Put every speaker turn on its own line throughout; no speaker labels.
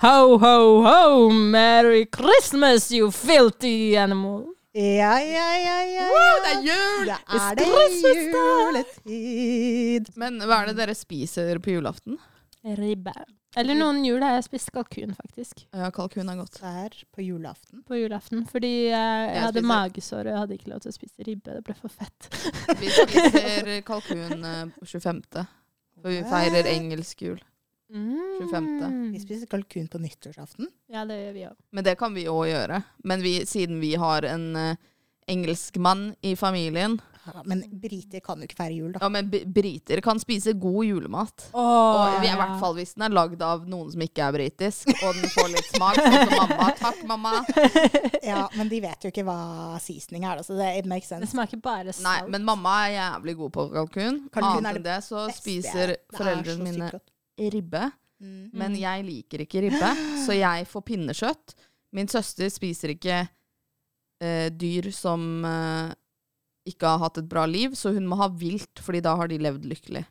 Ho, ho, ho, Merry Christmas, you filthy animal.
Ja, ja, ja, ja.
Woo, det er jul!
Da er det
Stressfest,
juletid.
Men hva er det dere spiser på julaften?
Ribbe. Eller noen jul har jeg spist kalkun, faktisk.
Ja, kalkun er godt.
Der på julaften.
På julaften. Fordi jeg, jeg hadde
spiser-
magesår og jeg hadde ikke lov til å spise ribbe. Det ble for fett.
Vi spiser kalkun eh, på 25. For vi feirer engelsk jul.
Mm.
25..
Vi spiser kalkun på nyttårsaften.
Ja, det gjør vi òg.
Men det kan vi òg gjøre. Men vi, siden vi har en eh, engelskmann i familien
Ja, men briter kan jo ikke feire jul, da.
Ja, men b- briter kan spise god julemat. Og vi er i hvert fall hvis den er lagd av noen som ikke er britisk, og den får litt smak. Sånn som mamma. Takk, mamma.
Ja, Men de vet jo ikke hva seasoning er, da, så det it makes
Det
sense.
smaker bare salt.
Nei, men mamma er jævlig god på kalkun.
Kalkun er
Annet
det
enn det så
Beste
spiser
jeg vet. Det er så
foreldrene
sykt
mine
godt.
ribbe.
Mm.
Men jeg liker ikke ribbe, så jeg får pinnekjøtt. Min søster spiser ikke eh, dyr som eh, ikke har hatt et bra liv, så hun må ha vilt, fordi da har de levd lykkelig.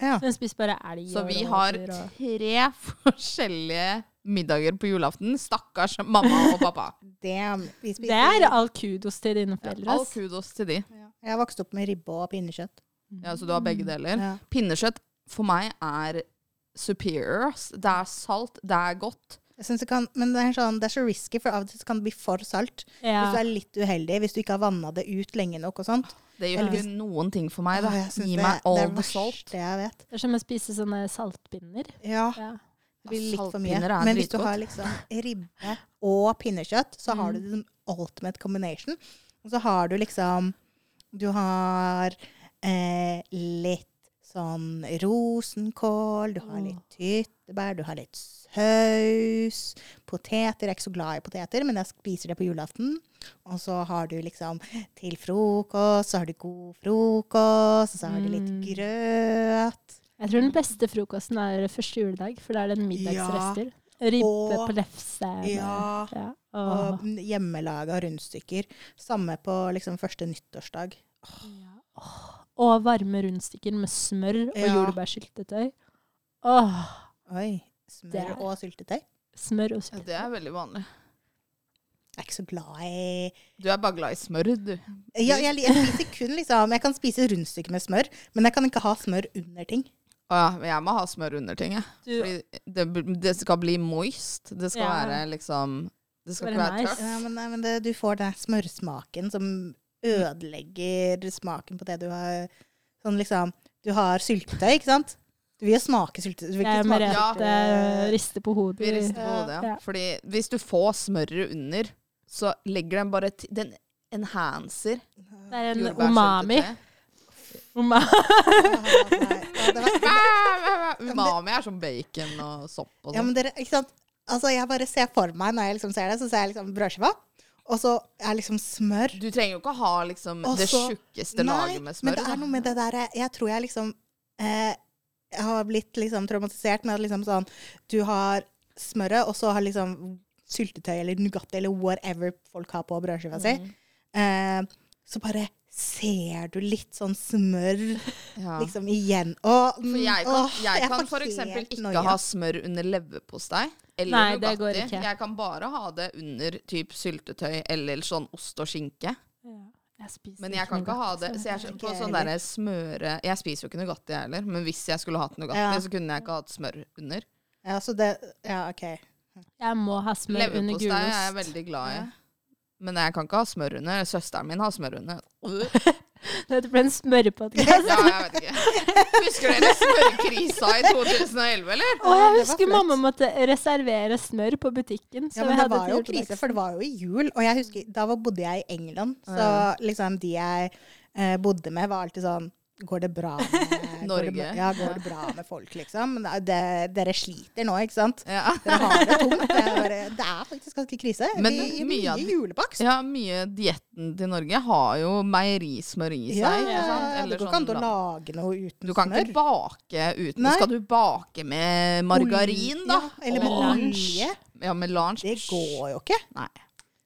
Ja.
Den spiser bare elg
Så
og
vi har
rådyr og-
tre forskjellige middager på julaften. Stakkars mamma og pappa.
Damn. Vi spiser
Det er all kudos til dine foreldre.
All
ass.
kudos til de.
Ja. Jeg vokste opp med ribbe og pinnekjøtt.
Ja, så du har
Mm.
begge deler.
Ja.
Pinnekjøtt for meg er superior. ass. Det er salt, det er godt.
Jeg synes det kan, men det er, sånn, det er så risky, for av og til så kan det bli for salt.
Ja.
Hvis du er litt uheldig, hvis du ikke har vanna det ut lenge nok og sånt.
Det gjør
Eller
ikke noen ting for
Åh,
meg. Da.
jeg synes
Gi
det-
meg
det
all
er
the
verst,
salt.
Det jeg vet.
Det er som å spise sånne saltpinner.
Ja,
Ja.
det blir litt for
Saltpinner
mye.
er
Men hvis du
dritgodt.
har liksom ribbe og pinnekjøtt, så har du
Mm.
det som ultimate combination. Og så har du liksom Du har eh, litt sånn rosenkål, du har litt tyttebær, du har litt saus. Poteter. Jeg er ikke så glad i poteter, men jeg spiser det på julaften. Og så har du liksom til frokost, så har du god frokost, og så har du litt
Mm.
grøt.
Jeg tror den beste frokosten er første juledag, for da er det en middagsrester. Ribbe
Og-
på lefse. med-
Ja.
ja. Åh.
Og hjemmelaga rundstykker. Samme på liksom første nyttårsdag.
Og varme rundstykker med smør og
Ja.
jordbærsyltetøy. Åh,
Oi. Smør
Der.
og syltetøy.
smør og
Ja,
syltetøy.
Det er veldig vanlig.
Jeg er ikke så glad i
Du er bare glad i smør, du.
ja, jeg, jeg spiser kun liksom Jeg kan spise rundstykker med smør, men jeg kan ikke ha smør under ting.
Å ja, men jeg må ha smør under ting, jeg.
Du-
Fordi det, b- det skal bli moist. Det skal
Ja.
være liksom Det
Være
skal ikke være
nice.
tørt.
Ja, men, nei, men det, du får den smørsmaken som ødelegger smaken på det du har Sånn liksom Du har syltetøy, ikke sant? Du vil jo smake syltetøy. Du vil
Jeg
ikke
og
smake
Ja.
Merete rister på hodet.
Vi rister på hodet, ja.
Ja.
Fordi hvis du får smøret under, så legger den bare til Den enhancer
Det er en
jordbærsyltetøy.
umami. Uma
Ja, det var,
Umami er som bacon og sopp og
Ja,
sånn.
men dere, ikke sant? Altså, jeg bare ser for meg når jeg liksom ser det, så ser jeg liksom brødskiva, og så er liksom smør.
Du trenger jo ikke ha liksom
Og
det
så-
tjukkeste laget med
men
smør.
det
da.
er noe med det der, jeg- jeg tror jeg liksom, eh, jeg har blitt liksom traumatisert med at liksom sånn, du har smøret, og så har liksom syltetøy eller nougat eller whatever folk har på brødskiva si.
Mm.
Eh, så bare ser du litt sånn smør
Ja.
liksom igjen. Åh,
For
mm,
jeg kan,
åh,
jeg kan
får
for eksempel
helt
ikke
noia.
ha smør under leverpostei eller
Nei, det går
Nugatti.
ikke.
Jeg kan bare ha det under typ syltetøy eller sånn ost og skinke.
Ja. Jeg spiser
Men jeg kan ikke
noe
ha
godt,
det
så
så jeg, er
Ikke
på
jeg
sånn derre smøre Jeg spiser jo ikke Nugatti, jeg heller, men hvis jeg skulle hatt Nugatti,
Ja.
så kunne jeg ikke hatt smør under.
Ja, så det, ja, ok.
Jeg må ha smør under
Leverpostei er jeg
gulost.
veldig glad i. Men jeg kan ikke ha smør under. Søsteren min har smør under. Øh.
Dette ble en smørepodkast.
Ja, jeg vet ikke. Husker dere smørkrisa i 2011, eller?
Og jeg
det var
husker
flaut.
mamma måtte reservere smør på butikken. Så vi
Ja, men det
hadde
var jo
til
krise,
dags.
for det var jo i jul. Og jeg husker, da var, bodde jeg i England, så liksom de jeg eh, bodde med, var alltid sånn Går det bra med Går det,
Norge.
bra- ja, går det bra med folk, liksom? Men Det, dere sliter nå, ikke sant?
Ja.
Dere har det tungt. Det er, bare, det er faktisk ganske krise.
Men
Vi gir
mye av
mye
det-
julepakst.
ja, mye dietten til Norge har jo meierismør i seg.
Ja,
ikke sant?
det
Eller
går ikke an
sånn
å lage noe uten
Du kan
smør.
ikke bake uten
Nei.
Skal du bake med margarin, da?
Ja, eller
Og
melange.
Ja, melange.
Det går jo ikke.
Nei.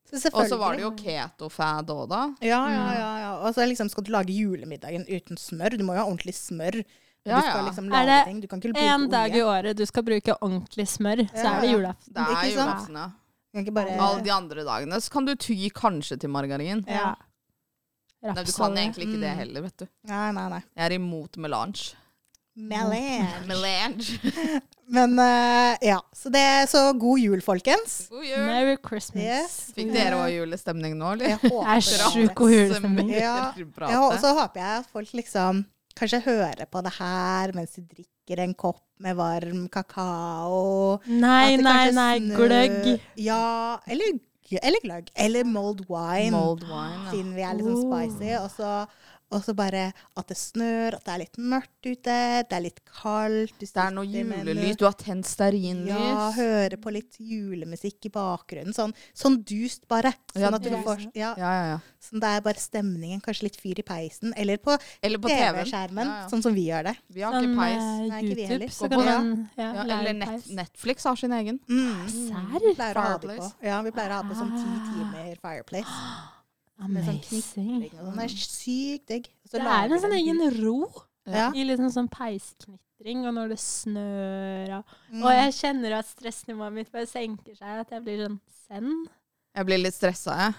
Så
Og så var
selvfølgelig-
det jo keto-fad òg, da.
Ja, ja,
Mm.
ja. ja. Og så liksom skal du lage julemiddagen uten smør. Du må jo ha ordentlig smør. når
Ja,
du skal
ja.
liksom
Er
lage
det
ting. Du kan ikke bruke
En dag i
olje.
året du skal bruke ordentlig smør, så
Ja,
er det
ja.
julaften.
Det er
Ikke sant?
julaften, ja.
Du kan ikke bare
Alle de andre dagene så kan du ty kanskje til margarin.
Ja.
Nei, du kan
Rapsolje.
egentlig ikke det
Mm.
heller, vet du.
Nei, nei, nei.
Jeg er imot melange.
Mm.
Melange.
Melange.
Men eh, ja. Så, det, så god jul, folkens.
God jul.
Merry Christmas.
Yes.
Fikk dere òg julestemning nå, eller?
Jeg håper
er
det.
sjuk god julestemning.
Ja.
Bra.
Ja, og så håper jeg at folk liksom kanskje hører på det her mens de drikker en kopp med varm kakao.
Nei,
At det
nei,
kanskje
nei.
snø-
Gløgg.
Ja, eller, eller gløgg. Eller mold wine.
Mold wine, ja.
Siden vi er litt
Oh.
sånn spicy. Og så, og så bare at det snør, at det er litt mørkt ute, det er litt kaldt.
Det er noe julelys. Du har tent stearinlys.
eh, Ja, høre på litt julemusikk i bakgrunnen. Sånn, sånn dust, bare.
Ja,
Sånn at du
dust.
får ja,
ja, ja, ja.
sånn det er bare stemningen. Kanskje litt fyr i peisen. Eller på
Eller på TV-en.
TV-skjermen,
Ja, ja.
sånn som vi gjør det.
Vi har
Sånn
ikke peis.
eh,
Nei, ikke vi heller.
YouTube, så
Gå
kan
på det.
man ja,
Ja,
lære
eller
peis.
net Netflix har sin egen.
Mm.
Serr?
Pleier å ha det på.
Ah, Fireplace.
Ja, vi pleier å ha på sånn ti
Ah.
timer Fireplace. Med sånn
Amazing.
knitring og sånn. Det er sykt digg. Og så
Det
lager
er en sånn
den
egen
hus.
ro
ja.
i liksom sånn peisknitring, og når det snør og
Mm.
Og jeg kjenner at stressnivået mitt bare senker seg, at jeg blir sånn zen.
Jeg blir litt stressa, jeg.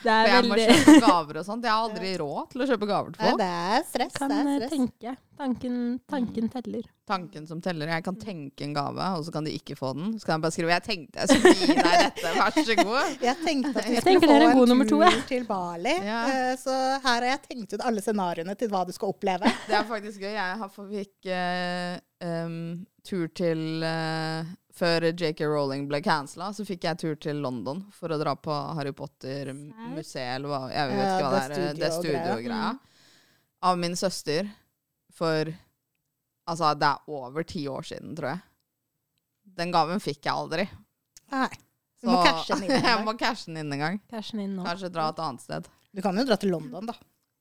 Det
For
er
jeg må
veldig
kjøpe gaver og sånt. Jeg har aldri råd til å kjøpe gaver til
Nei,
folk.
det er stress.
Kan
det
eh,
er stress.
tenke. Tanken,
Mm.
tanken teller.
Tanken som teller. Jeg kan tenke en gave, og så kan de ikke få den. Så kan jeg bare skrive 'Jeg tenkte jeg skulle gi deg dette, vær så god'.
Jeg tenkte at vi
Jeg
skulle
tenker
få
det er en god
en
nummer
tur
to, jeg.
til Bali.
Ja.
eh, Så her har jeg tenkt ut alle scenarioene til hva du skal oppleve.
Det er faktisk gøy. Jeg har fikk eh, em, tur til eh, Før JK Rowling ble cancela, så fikk jeg tur til London for å dra på Harry Potter-museet, eller hva Jeg vet
Ja,
ikke hva
det
det er. eh, Det
studio-
studiogreia. Av min søster for Altså, det er over ti år siden, tror jeg. Den gaven fikk jeg aldri.
Nei. Du må
Så-
cashe den inn. en
jeg
gang.
må cashe den inn en gang.
Cashen inn nå.
Kanskje dra et annet sted.
Du kan jo dra til London, da.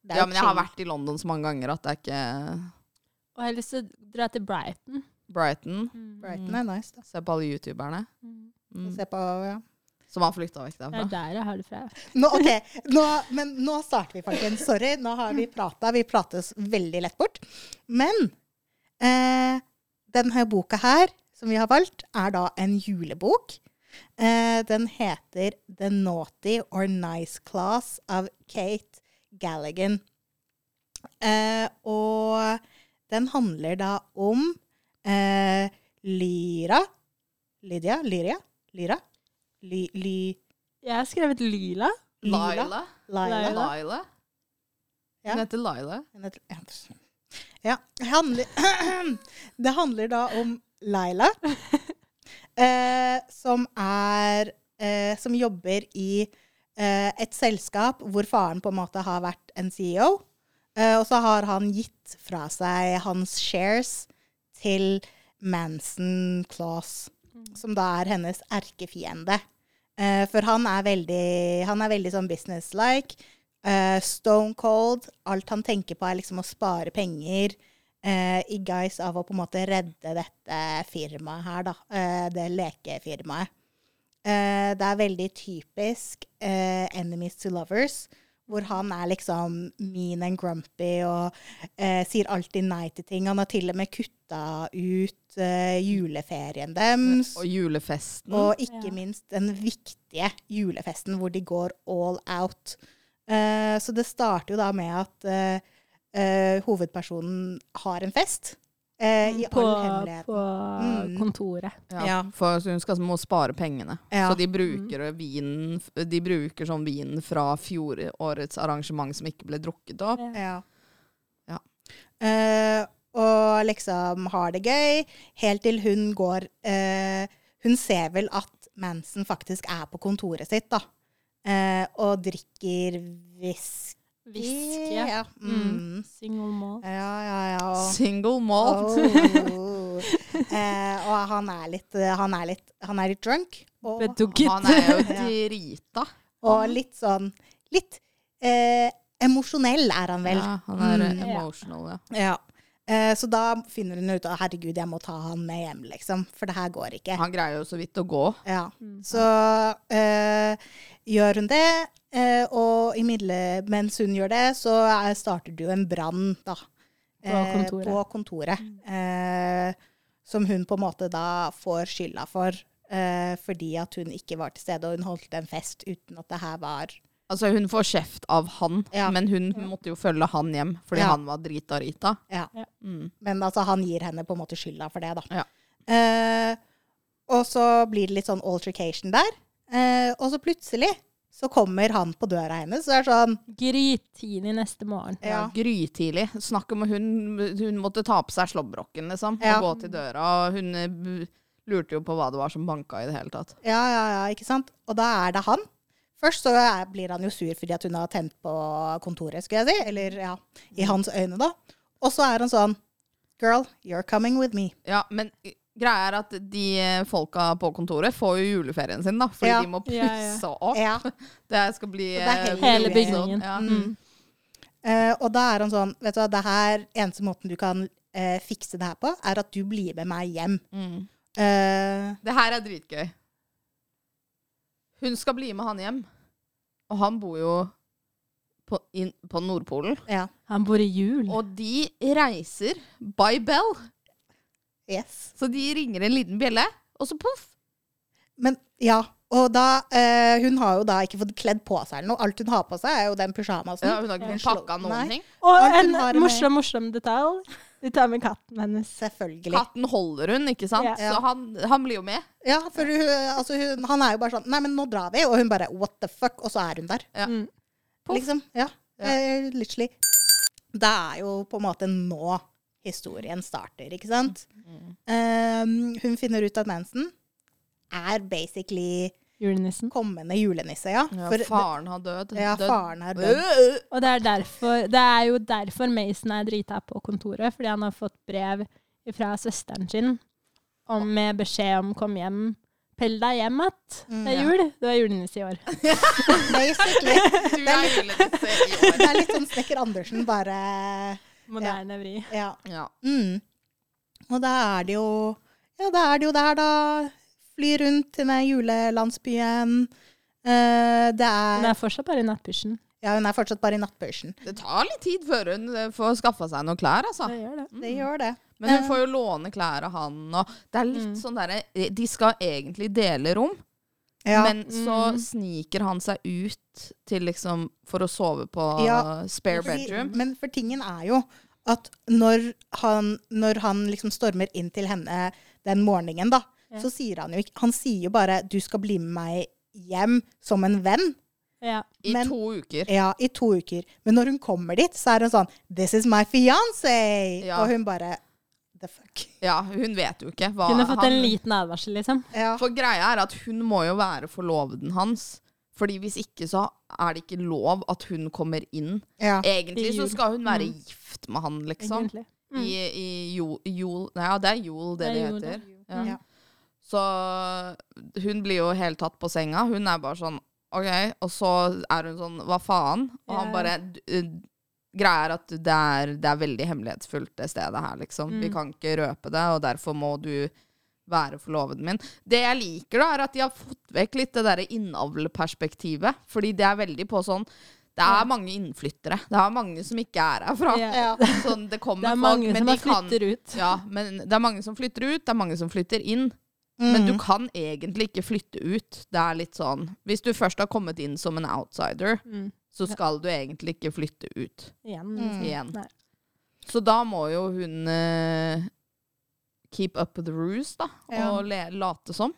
Det er
Ja,
jo
men jeg har
chill.
vært i London så mange ganger at det er ikke
Og jeg har lyst til å dra til Brighton.
Brighton.
Brighton er nice, da.
Se på alle youtuberne
Mm.
mm,
Se på, ja.
som har flytta vekk
Det er
derfra.
der jeg har det fra.
nå, ok, nå, men nå starter vi, folkens. Sorry, nå har vi prata. Vi prates veldig lett bort. Men eh, denne boka her, som vi har valgt, er da en julebok. Eh, den heter The Naughty or Nice Class av Kate Galligan. Eh, og den handler da om eh, Lyra Lydia? Lyria? Lyra? Ly... ly
Jeg har skrevet lila.
Lila?
Laila.
Laila.
Laila.
Laila.
Ja.
Hun heter Laila.
Men jeg tror- ja, pff. Ja. det Handler, det handler da om Laila, eh, som er eh, Som jobber i eh, et selskap hvor faren på en måte har vært en CEO. Eh, og så har han gitt fra seg hans shares til Manson Claus, som da er hennes erkefiende. Eh, for han er veldig, han er veldig sånn business-like. Eh, stone cold. Alt han tenker på, er liksom å spare penger eh, i guise av å på en måte redde dette firmaet her, da. Eh, det lekefirmaet. Eh, det er veldig typisk eh, Enemies to Lovers, hvor han er liksom mean and grumpy og eh, sier alltid nei til ting. Han har til og med kutta ut eh, juleferien deres.
Og julefesten.
Og ikke
Ja.
minst den viktige julefesten hvor de går all out. Eh, så det starter jo da med at eh, eh, hovedpersonen har en fest. eh, I
Mm, På,
all hemmelighet.
på
Mm.
kontoret.
ja.
ja.
For hun skal, må spare pengene.
Ja.
Så de bruker, vinen, de bruker sånn vin fra fjorårets arrangement som ikke ble drukket opp.
Ja.
Ja.
Eh, og liksom har det gøy, helt til hun går eh, Hun ser vel at Manson faktisk er på kontoret sitt, da. eh, og drikker whisky.
Hviske.
Ja. Mm.
Single malt.
ja, ja, ja. og-
Single malt.
Oh. Eh, og han er litt eh, Han er litt, han er litt drunk. Og,
Han
Bedugget.
er jo
Ja.
drita.
og litt sånn Litt eh, emosjonell er han vel.
Ja, han er eh,
Mm.
Ja.
emotional, ja.
Ja. Eh, så da finner hun ut at herregud, jeg må ta han med hjem, liksom. For det her går ikke.
Han greier jo så vidt å gå.
Ja.
Mm.
Så eh, gjør hun det, eh, og i middel, mens hun gjør det, så er, starter det jo en brann, da.
På
eh,
kontoret. Mm.
På kontoret. Eh, som hun på en måte da får skylda for, eh, fordi at hun ikke var til stede, og hun holdt en fest uten at det her var
Altså, hun får kjeft av han,
Ja.
men hun måtte jo følge han hjem fordi
Ja.
han var drita rita.
Ja.
Ja.
Mm.
Men altså, han gir henne på en måte skylda for det, da.
Ja.
Eh, og så blir det litt sånn altercation der. Eh, og så plutselig så kommer han på døra hennes og er sånn
Grytidlig neste morgen.
Ja.
Grytidlig. Snakk om hun, hun måtte ta på seg slåbroken, liksom,
Ja.
og gå til døra. Og hun eh, b- lurte jo på hva det var som banka i det hele tatt.
Ja, ja, ja, ikke sant? Og da er det han. Først så er, blir han jo sur fordi at hun har tent på kontoret, skulle jeg si. Eller ja, i hans øyne, da. Og så er han sånn Girl, you're coming with me.
Ja, men eh, greia er at de eh, folka på kontoret får jo juleferien sin, da, fordi
Ja.
de må
Ja, ja.
pusse opp.
Ja.
Det skal bli
Så det er
eh,
hele
mye
bygningen.
sånn, Ja.
Mm. Eh, og da er han sånn Vet du hva, det her eneste måten du kan eh, fikse det her på, er at du blir med meg hjem.
Mm.
Eh,
Det her er dritgøy. Hun skal bli med han hjem. Og han bor jo på, inn, på Nordpolen.
ja.
Han bor i jul.
Og de reiser by bell.
Yes.
Så de ringer en liten bjelle, og så poff!
Men ja. Og da eh, Hun har jo da ikke fått kledd på seg eller noe. Alt hun har på seg, er jo den pysjamasen.
Ja, hun har ikke fått pakka noen
Nei.
ting.
Og
Arnfinn
en
har det med.
morsom, morsom detalj. De tar med katten hennes.
Selvfølgelig.
Katten holder hun, ikke sant?
Ja.
Så han, han blir jo med.
Ja, for hun, altså hun, han er jo bare sånn Nei, men nå drar vi. Og hun bare What the fuck? Og så er hun der.
Ja.
Mm.
Poff.
Liksom. Ja.
Ja.
Eh, literally. Det er jo på en måte nå historien starter, ikke sant?
Mm.
Um, hun finner ut at Manson er basically
Julenissen.
kommende julenisse, ja.
Ja,
For det-
faren har dødd.
ja,
Dødd.
faren er død.
Øh!
Og det er, derfor, det er jo derfor Mason er drita på kontoret, fordi han har fått brev fra søsteren sin om, med beskjed om 'kom hjem'. Pell deg hjem att. Det er
Mm.
jul. Du er julenisse i år.
Basically.
Du er julenisse i år.
Det er litt sånn Snekker Andersen, bare
Moderne vri.
Ja.
Ja.
Mm. Og da er det jo Ja, da er det jo der, da. Fly rundt til den julelandsbyen. Eh, det
Hun
er
er fortsatt bare i nattpysjen.
Ja, hun er fortsatt bare i nattpysjen.
Det tar litt tid før hun eh, får skaffa seg noen klær, altså.
Det gjør det.
Det gjør det.
Men hun får jo låne klær av han, og det er litt sånn derre De skal egentlig dele rom,
Ja.
men så
Mm.
sniker han seg ut til liksom For å sove på
Ja.
spare
Fordi-
bedroom.
Men for tingen er jo at når han, når han liksom stormer inn til henne den morgenen, da,
Ja.
så sier han jo ikke Han sier jo bare 'du skal bli med meg hjem som en venn'.
Ja.
I
men-
to uker.
Ja, i to uker. Men når hun kommer dit, så er hun sånn 'This is my fiancé!'
Ja.
Og hun bare The fuck.
Ja, hun vet jo ikke hva
Kunne fått en
Ah, han-
liten advarsel, liksom.
Ja.
For greia er at hun må jo være forloveden hans. Fordi hvis ikke så er det ikke lov at hun kommer inn.
ja.
Egentlig
I
så
jul. Mm.
skal hun være gift med han, liksom.
Egentlig. Mm.
I, i jul, jul Nei, ja, det er jul det
Det er
det
jul,
heter.
Ja.
Ja. Så hun blir jo helt tatt på senga. Hun er bare sånn OK. Og så er hun sånn Hva faen? Og han
Ja.
bare d- eh, Greia er at det er, det er veldig hemmelighetsfullt, det stedet her, liksom. Vi
Mm.
kan ikke røpe det, og derfor må du være forloveden min. Det jeg liker, da, er at de har fått vekk litt det derre innavlperspektivet. Fordi det er veldig på sånn Det er mange innflyttere. Det er mange som ikke er herfra.
Ja.
Ja.
Sånn, det kommer
Det er
folk,
mange
men
som
de
har
kan
flytter ut.
ja, men det er mange som flytter ut, det er mange som flytter inn.
Mm.
Men du kan egentlig ikke flytte ut. Det er litt sånn Hvis du først har kommet inn som en outsider,
Mm.
så skal du egentlig ikke flytte ut
Igjen.
Mm.
igjen.
Nei.
Så da må jo hun eh, keep up the ruse, da,
Ja.
og le late som.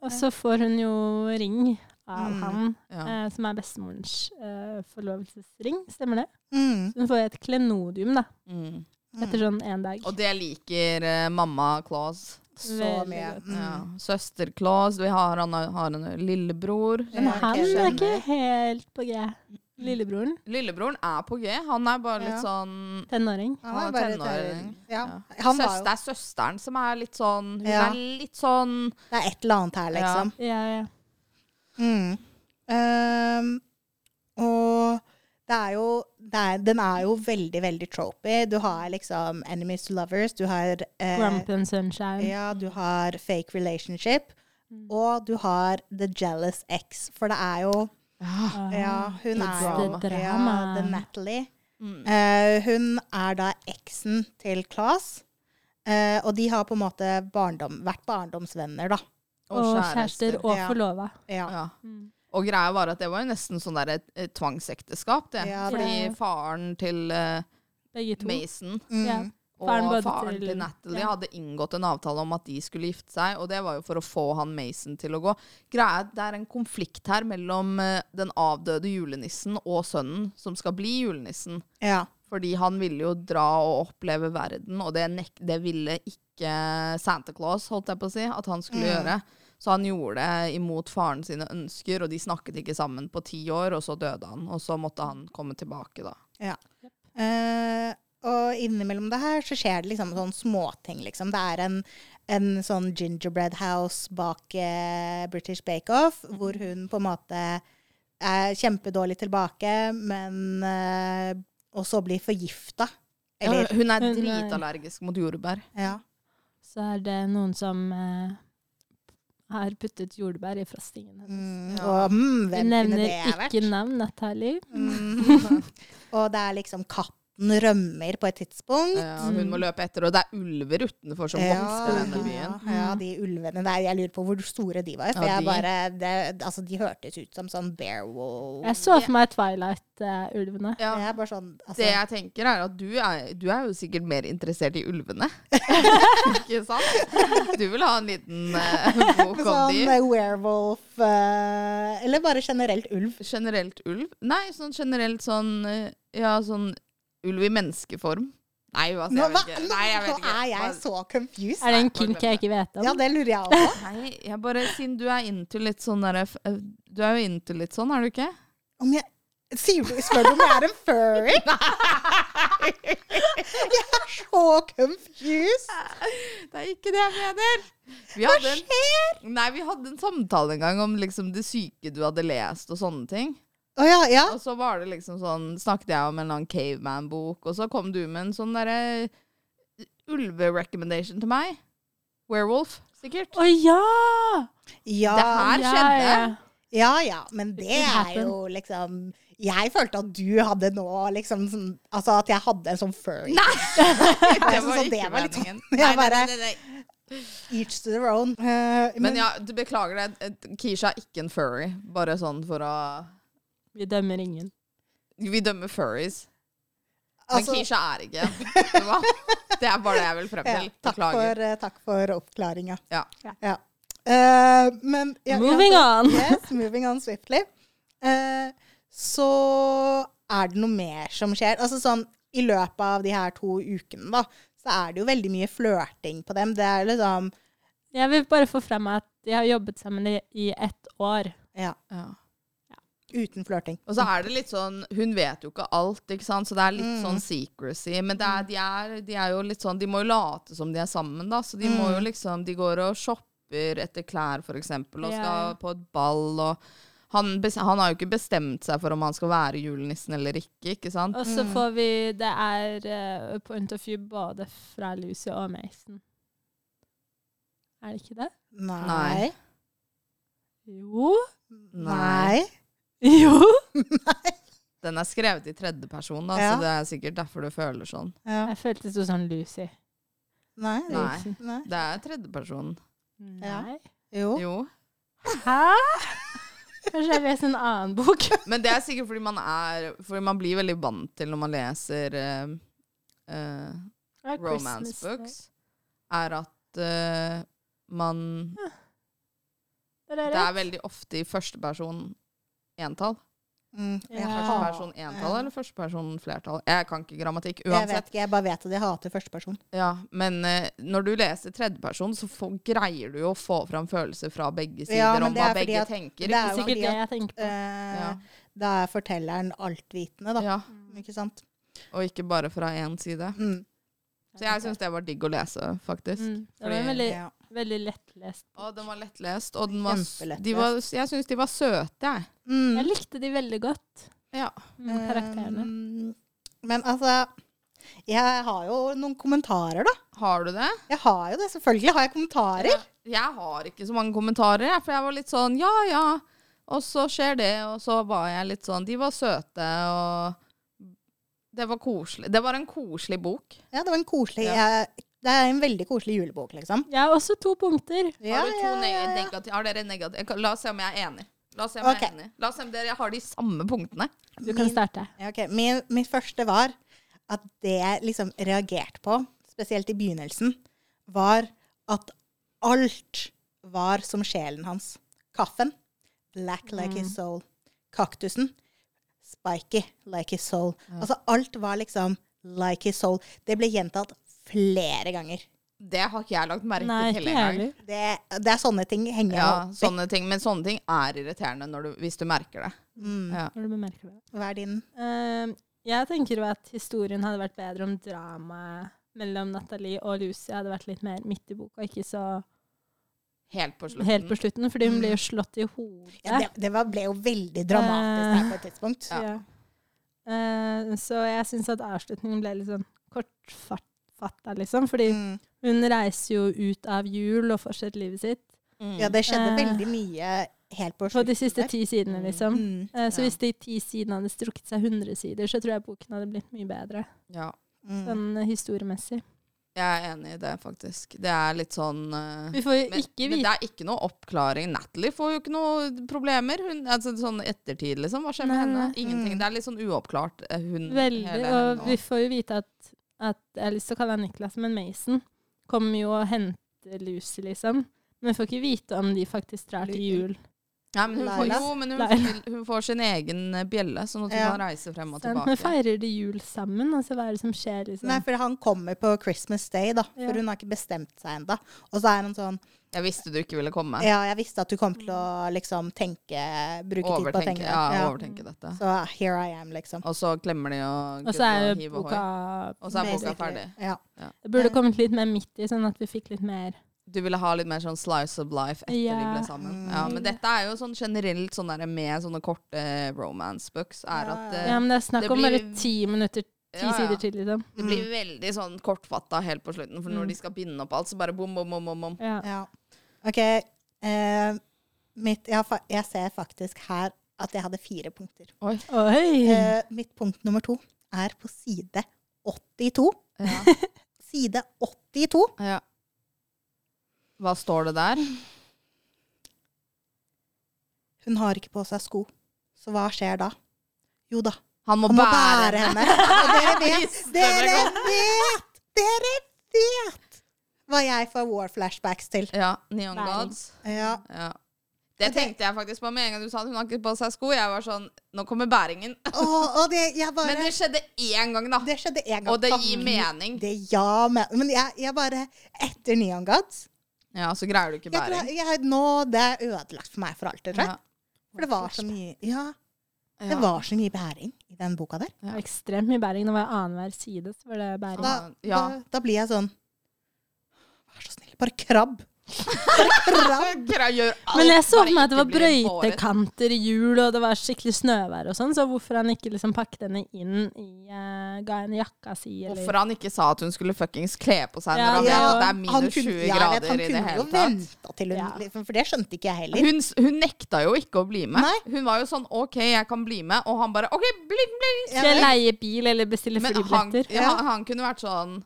Og så får hun jo ring av
Mm.
han,
Ja.
eh, som er bestemorens eh, forlovelsesring. Stemmer det?
Mm.
Hun får et klenodium da,
Mm.
etter sånn én dag.
Og det liker eh, mamma Claus.
Så
Veldig
mye.
godt.
Mm.
Ja. Søster Claus. Vi har, han har en lillebror.
Ja.
Men han
ok,
er
skjønner.
ikke helt på G. Lillebroren.
Lillebroren er på G. Han er bare
Ja.
litt sånn
Tenåring.
Han
Han
er
var
bare
tenåring.
tenåring. Ja.
Ja.
Han var
Søster,
jo
det er søsteren som er litt sånn Hun
Ja.
er litt sånn
Det er et eller annet her, liksom.
Ja, ja.
Mm. Ehm, og det er jo det er, Den er jo veldig, veldig tropy. Du har liksom enemies to lovers. Du har eh,
Grump and Sunshine.
Ja, du har fake relationship.
Mm.
Og du har the jealous ex. For det er jo
Ah.
Ja, hun
The
er jo
drama.
The
ja,
drama.
The Natalie.
Mm.
Eh, hun er da eksen til Claes. Eh, og de har på en måte barndom, vært barndomsvenner, da.
Og kjærester og
Ja.
forlova.
Ja.
Ja.
Mm.
Og greia var at det var jo nesten sånn der et, et tvangsekteskap, det.
Ja,
Fordi
det-
faren til eh,
Begge to.
Mason
Mm.
Ja.
og
Faren
faren,
både
til,
til-
Natalie
ja.
hadde inngått en avtale om at de skulle gifte seg, og det var jo for å få han Mason til å gå. Greia er at det er en konflikt her mellom eh, den avdøde julenissen og sønnen som skal bli julenissen.
Ja.
Fordi han ville jo dra og oppleve verden, og det, nek det ville ikke Santa Claus, holdt jeg på å si, at han
Mm.
skulle gjøre. Så han gjorde det imot faren sine ønsker, og de snakket ikke sammen på ti år, og så døde han. Og så måtte han komme tilbake, da.
ja. Eh, og innimellom det her så skjer det liksom sånn småting, liksom. Det er en, en sånn gingerbread house bak eh, British Bake Off, hvor hun på en måte er kjempedårlig tilbake, men eh, Og så blir forgifta. Eller
hun er
Hun er-
dritallergisk mot jordbær.
Ja.
Så er det noen som eh, har puttet jordbær i frostingen hennes.
Mm,
Ja.
Og
Vi
mm, hvem kunne
nevner
det ha vært?
ikke navn, Natalie.
Mm. og det er liksom katten rømmer på et tidspunkt.
Ja, hun må løpe etter, og det er ulver utenfor som vokser denne byen.
ja, ja, de ulvene der. Jeg lurer på hvor store de var. For
Ja,
jeg
de-
bare, det, altså, de hørtes ut som sånn Bearwolf.
Jeg så for meg Twilight-ulvene.
Ja.
Jeg er bare sånn altså,
Det jeg tenker er at du er, du er jo sikkert mer interessert i ulvene. ikke sant? Du vil ha en liten eh, bok om
Sånn
de.
eh, werewolf eh, Eller bare generelt ulv.
Generelt ulv? Nei, sånn generelt sånn eh, Ja, sånn ulv i menneskeform. Nei, altså,
Nå,
jeg
hva,
vet ikke.
nå,
Nei, jeg
nå
vet ikke.
er jeg
Bare-
så confused.
Er det en
Nei,
kink jeg ikke vet om?
Ja, det lurer jeg også.
Nei, jeg bare Siden du er into litt sånn derre f- eh, Du er jo into litt sånn, er du ikke?
Om jeg, sier du, spør du om jeg er en furry? jeg er så confused.
Det er ikke det jeg mener. Vi Hva skjer? En, nei, vi hadde en samtale en gang om liksom det syke du hadde lest og sånne ting.
Å ja, ja.
Og så var det liksom sånn, snakket jeg om en eller annen caveman-bok, og så kom du med en sånn derre ulve-recommendation til meg. Werewolf, sikkert.
Å ja!
Ja,
Det her
Ja,
skjedde.
ja.
ja, ja. Men det
It
er
happened.
jo liksom Jeg følte at du hadde nå liksom sånn Altså at jeg hadde en sånn furry.
Nei! Det
Jeg
var
synes at
ikke
det var litt sånn.
meningen. Nei,
Jeg
nei,
bare
nei, nei, nei.
Each to their own. Eh,
Men ja, du beklager det. Eh, Keisha er ikke en furry. Bare sånn for å
Vi dømmer ingen.
Vi dømmer furries. Men
altså,
Keisha er ikke en. Hva? Det er bare det jeg vil frem
ja,
til.
takk,
Beklager.
for, eh, takk for oppklaringa.
Ja.
Ja. Eh, men ja,
Moving
ja,
on!
Yes, moving on swiftly. Eh, så er det noe mer som skjer. Altså sånn, I løpet av de her to ukene, da, så er det jo veldig mye flørting på dem. Det er liksom
Jeg vil bare få frem at de har jobbet sammen i, i ett år.
Ja,
Ja.
uten flørting.
Og så er det litt sånn Hun vet jo ikke alt, ikke sant? så det er litt
Mm.
sånn secrecy. Men det er, de, er, de er jo litt sånn De må jo late som de er sammen, da. Så de må
Mm.
jo liksom De går og shopper etter klær, for eksempel, og
Ja,
skal
ja.
på et ball og han, bes- han har jo ikke bestemt seg for om han skal være julenissen eller ikke, ikke sant?
Og
Mm.
så får vi Det er eh, point of view både fra Lucy og Mason. Er det ikke det?
Nei.
Nei.
Jo.
Nei.
Jo.
Den er skrevet i tredjeperson, da,
Ja.
så det er sikkert derfor du føler sånn.
Ja.
Jeg følte det sto sånn Lucy.
Nei.
Nei.
Nei.
Det er tredjeperson.
Ja.
Nei.
Jo. Ah!
Jo.
Hæ? Kanskje jeg leser en annen bok.
Men det er sikkert fordi man er Fordi man blir veldig vant til når man leser eh, eh, romance
Christmas,
books, er at eh, man
Det er
Det
rett.
er veldig ofte i førsteperson entall.
Mm. Jeg
Ja.
hater-
Førsteperson entall eller førsteperson flertall? Jeg kan ikke grammatikk
Jeg vet
uansett.
ikke, jeg bare vet at jeg hater førsteperson.
Ja, men eh, når du leser tredjeperson, så får, greier du jo å få fram følelser fra begge sider
men
om
det
hva
er fordi
begge
at-
tenker.
Det
det er
Ikke
er
jo
sant?
sikkert
fordi
det jeg tenker på.
Eh,
Ja.
Da er fortelleren altvitende, da.
Ja,
Mm.
Ikke sant?
og ikke bare fra én side.
Mm.
Så jeg syns det var digg å lese, faktisk.
Mm. Det var en
Fordi-
veldig,
Ja.
veldig lettlest.
Og den var lettlest, og den var, s-
Kjempelettlest.
de var Jeg syns de var søte, jeg.
Jeg
Mm.
likte de veldig godt,
Ja.
mm, karakterene.
Um, Men altså Jeg har jo noen kommentarer, da.
Har du det?
Jeg har jo det, selvfølgelig har jeg kommentarer.
Jeg har ikke så mange kommentarer, jeg, for jeg var litt sånn ja, ja. Og så skjer det, og så var jeg litt sånn De var søte, og det var koselig. Det var en koselig bok.
Ja, det var en koselig
Ja.
jeg, Det er en veldig koselig julebok, liksom.
Jeg har også to punkter.
Ja,
har, du to
ja,
ne-
ja, ja.
negati- har dere negative La oss se om jeg er enig. La oss se om jeg
Ok.
er enig. La oss se om dere har de samme punktene.
Du kan
Min-
starte.
Ja, ok. Min, mitt første var at det jeg liksom reagerte på, spesielt i begynnelsen, var at alt var som sjelen hans. Kaffen, black like his soul. Kaktusen, spiky like his soul. Altså alt var liksom like his soul. Det ble gjentatt flere ganger.
Det har ikke jeg lagt merke
Nei,
til
ikke
engang.
heller.
Det, det er sånne ting henger
Ja, sånn.
jeg opp i.
sånne ting. Men sånne ting er irriterende når du, hvis du merker det.
Mm.
Ja.
Når du bemerker det.
Hva er din?
Eh, jeg tenker jo at historien hadde vært bedre om dramaet mellom Nathalie og Lucy hadde vært litt mer midt i boka, ikke så
Helt på slutten.
helt på slutten, fordi hun blir jo slått i hodet.
Ja, det, det var, ble jo veldig dramatisk der på et tidspunkt.
Ja. Eh, så jeg syns at avslutningen ble litt sånn kortfatta, liksom. Fordi
Mm.
hun reiser jo ut av jul og fortsetter livet sitt
Mm.
Ja, det skjedde
Eh,
veldig mye helt på
på de
slutten
siste
der.
ti sidene, liksom.
Mm.
Eh, så
Ja.
hvis de ti sidene hadde strukket seg 100 sider, så tror jeg boken hadde blitt mye bedre,
ja.
Mm.
sånn eh, historiemessig.
Jeg er enig i det, faktisk. Det er litt sånn eh,
Vi får jo
men,
ikke
men det
vite
er ikke noe oppklaring. Natalie får jo ikke noe problemer. Hun, altså, sånn ettertid, liksom. Hva skjer med
Nei,
henne?
nei.
Ingenting.
Mm.
Det er litt sånn uoppklart. eh, Hun,
veldig,
hele
og
henne
vi
nå.
får jo vite at, at Jeg har lyst til å kalle han Niklas, men Mason kommer jo og henter Lucy, liksom. Men vi får ikke vite om de faktisk drar til jul.
Nei, men hun får,
Laila.
jo, men hun,
Laila.
hun får sin egen eh, bjelle, sånn at hun
Ja.
kan reise frem og
Sant? Men
tilbake.
feirer de jul sammen? Altså, hva er det som skjer, liksom?
Nei, for han kommer på Christmas Day, da. For
Ja.
hun har ikke bestemt seg ennå. Og så er han sånn
Jeg visste du ikke ville komme.
Ja, jeg visste at du kom til å liksom tenke Bruke tid på å
Overtenke,
tenke.
ja,
Ja.
overtenke dette.
Så ah, here I am, liksom.
Og så klemmer de og
Og så er
hiv
jo
og hoi.
boka
Og så er boka
Basically.
ferdig.
Ja.
Det burde kommet litt mer midt i, sånn at vi fikk litt mer
Du ville ha litt mer sånn slice of life etter de
Ja.
ble sammen. Ja, men dette er jo sånn generelt sånn der med sånne korte romance books, er
Ja,
at
ja.
eh,
Ja, men det er snakk
det
om
blir-
bare ti minutter, ti
Ja, ja.
sider til, liksom.
det blir veldig sånn kortfatta helt på slutten, for
Mm.
når de skal binde opp alt, så bare bom, bom, bom, bom. bom.
Ja.
ja. OK. eh, mitt jeg, har fa- jeg ser faktisk her at jeg hadde fire punkter.
Oi!
Eh, mitt punkt nummer to er på side 82.
Ja.
Side 82.
ja. Hva står det der?
Hun har ikke på seg sko. Så hva skjer da? Jo da,
Han må,
han må
bære,
bære henne. Og dere vet,
Visste det
dere vet, dere vet hva jeg får war-flashbacks til.
Ja. Neon
Bæring.
Gods.
Ja,
Ja. Det tenkte jeg faktisk på med en gang du sa at hun har ikke på seg sko. Jeg var sånn Nå kommer bæringen.
og, og det, jeg bare,
Men det skjedde én gang, da.
det skjedde en gang.
Og det gir mening.
Det ja, men, men jeg, jeg bare, etter Neon Gods,
Ja, så greier du ikke
jeg, tror
bæring.
jeg, jeg, nå, det er ødelagt for meg for alltid, tror
Ja.
jeg. For det var så mye, ja, det
Ja.
var så mye bæring i den boka der.
Det var ekstremt mye bæring. Det var annenhver side, så var det bæring.
Da,
Ja.
da, da blir jeg sånn, vær så snill, bare krabb.
Greier å gjøre alt,
Men jeg så
bare
for meg at det
ikke
var
bli båret.
brøytekanter i jul, og det var skikkelig snøvær og sånn, så hvorfor han ikke liksom pakket henne inn i eh, Ga henne jakka si, eller
Hvorfor han ikke sa at hun skulle fuckings kle på seg
Ja,
når han vet
ja.
at det er
Han
minus
kunne-
20
ja, jeg vet,
grader i det hele
Han kunne jo
tatt?
venta til hun
Ja.
liksom, For det skjønte ikke jeg heller.
Hun, s- hun nekta jo ikke å bli med.
Nei.
Hun var jo sånn OK, jeg kan bli med. Og han bare OK, bling, bling.
Skal jeg leie bil eller bestille
Men han,
flybilletter?
ja, han- han kunne vært sånn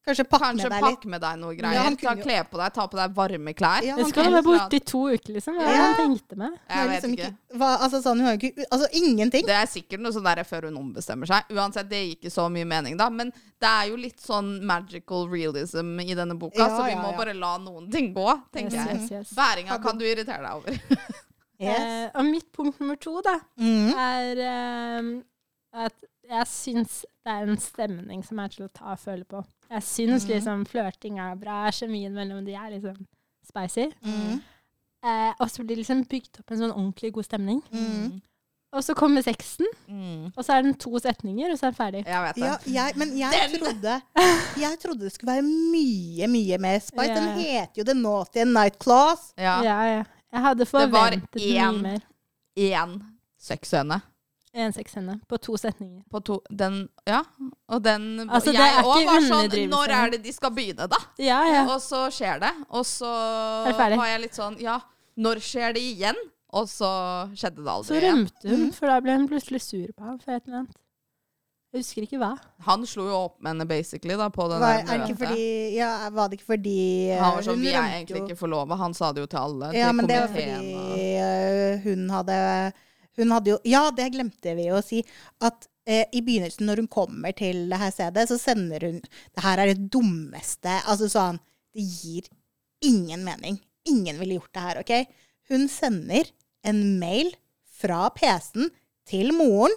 Kanskje pakk med
Kanskje
deg litt.
pakk med deg noe greier.
Ja, han
ta
kunne jo-
Kle på deg, ta på deg varme klær.
Ja,
Jeg
han
skal
kunne-
være borte i to uker, liksom. Hva er det
Ja.
han tenkte med?
hun har
Jeg vet
liksom
ikke.
ikke- hva, altså, sånn, hun har jo ikke Altså ingenting.
Det er sikkert noe sånn der før hun ombestemmer seg. Uansett, det gir ikke så mye mening, da. Men det er jo litt sånn magical realism i denne boka,
Ja,
så vi
ja,
må
ja.
bare la noen ting gå, tenker
Yes,
jeg.
yes, yes.
Bæringa kan du irritere deg over.
Yes.
Eh, og mitt punkt nummer to, da,
Mm.
er
Mm.
eh, at jeg syns det er en stemning som er til å ta og føle på. Jeg syns
Mm.
liksom flørting er bra, kjemien mellom de er liksom spicy.
Mm.
Eh, og så blir det liksom bygd opp en sånn ordentlig god stemning.
Mm.
Og så kommer sexten,
Mm.
og så er den to setninger, og så er den ferdig.
Jeg vet det.
Ja, jeg, men jeg trodde, jeg trodde det skulle være mye, mye mer spice. Den
Ja.
heter jo The Naughty and Night Claws.
Ja.
Ja, ja. Jeg hadde
var
forventet mye
én.
mer.
Én sexscene
En sexscene på to setninger.
på to Den, ja. Og den
Altså, det
Jeg
er
også
ikke
var sånn
underdrivelse.
Når er det de skal begynne, da?
Ja, ja.
Og så skjer det. Og så
Er det ferdig?
var jeg litt sånn Ja, når skjer det igjen? Og så skjedde det
Så
aldri igjen.
rømte hun, for da ble hun plutselig sur på ham for et eller annet. Jeg husker ikke hva.
Han slo jo opp med henne basically da, på
Var,
den der
er det ikke
møtet.
fordi, ja, var det ikke fordi eh,
Han var sånn
hun
Vi er
rømte
egentlig
jo-
ikke forlova. Han sa det jo til alle.
Ja,
til
men det var
komiteen
fordi
og-
eh, hun hadde Hun hadde jo Ja, det glemte vi å si. At eh, i begynnelsen, når hun kommer til det her stedet, så sender hun Det her er det dummeste Altså sånn Det gir ingen mening. Ingen ville gjort det her, OK? Hun sender en mail fra PC-en til moren.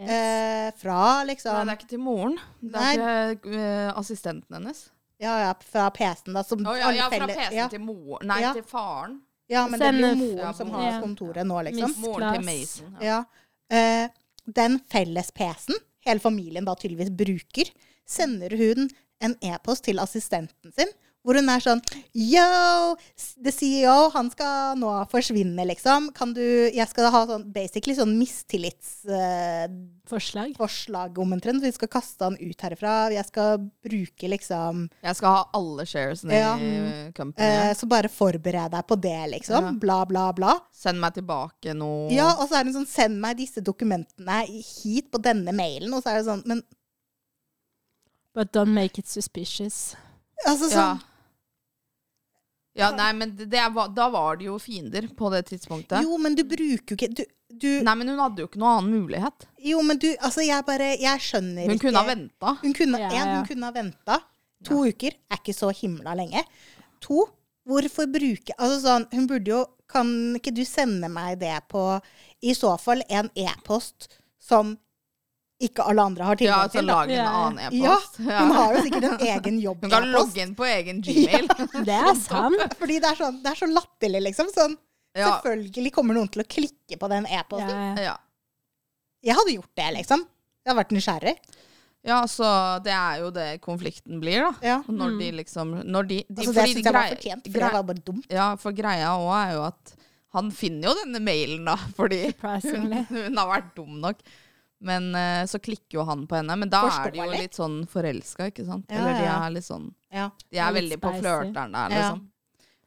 Yes.
Eh, fra
Nei,
liksom
det er ikke til moren. Det
Nei.
er til eh, assistenten hennes.
Ja, ja, fra PC-en, da. Som
Å, ja,
alle
ja, fra
felle-
PC-en
ja,
til moren. Nei,
Ja.
til faren.
ja, men det blir jo
Send-
moren
Ja,
som
moren.
har
Ja.
kontoret nå, liksom.
Miss
Moren til
Claus.
Mason. Ja.
Ja. Eh, den felles PC-en hele familien da tydeligvis bruker, sender hun en e-post til assistenten sin, hvor hun er sånn Yo, s- the CEO, han skal nå forsvinne, liksom. Kan du Jeg skal ha sånn basically sånn mistillitsforslag
Forslag.
om omtrent. Vi skal kaste han ut herfra. Jeg skal bruke liksom
Jeg skal ha alle sharesene
Ja.
i eh,
eh,
company.
Så bare forbered deg på det, liksom. Bla, bla, bla.
Send meg tilbake noe
Ja, og så er det sånn Send meg disse dokumentene hit på denne mailen. Og så er det sånn Men
But don't make it suspicious.
altså
Ja.
sånn
Ja, nei, men det, det var, da var det jo fiender på det tidspunktet.
Jo, men du bruker jo ikke du, du,
Nei, men hun hadde jo ikke noen annen mulighet.
Jo, men du Altså, jeg bare Jeg skjønner
Hun
ikke
kunne ha venta.
Hun kunne,
Ja,
en,
ja.
hun kunne ha venta. To uker er ikke så himla lenge. To, hvorfor bruke Altså sånn, hun burde jo Kan ikke du sende meg det på I så fall en e-post som ikke alle andre har
Ja,
tilgang
så
til. da.
lage en
Ja, ja.
annen
Ja,
e-post.
hun har jo sikkert en egen jobb.
Hun kan
e-post.
logge inn på egen Gmail.
Det er sant.
Fordi det er, sånn, det er så latterlig, liksom. Sånn,
Ja.
Selvfølgelig kommer noen til å klikke på den
Ja,
e-posten.
ja.
Ja.
Jeg hadde gjort det, liksom. Jeg hadde vært nysgjerrig.
ja, så det er jo det konflikten blir, da.
Ja.
Når de liksom når de, de,
Altså, det
fordi de
syns jeg var
grei-
fortjent, for
grei-
det var bare dumt.
Ja, for greia òg er jo at han finner jo denne mailen, da, fordi hun,
Surprisingly.
hun har vært dum nok. Men eh, så klikker jo han på henne. Men da er de jo
Forståelig.
litt sånn forelska, ikke sant?
Ja,
Eller de
ja.
er litt sånn
Ja.
De er
Litt
veldig på
spicy.
flørteren der,
Ja.
liksom.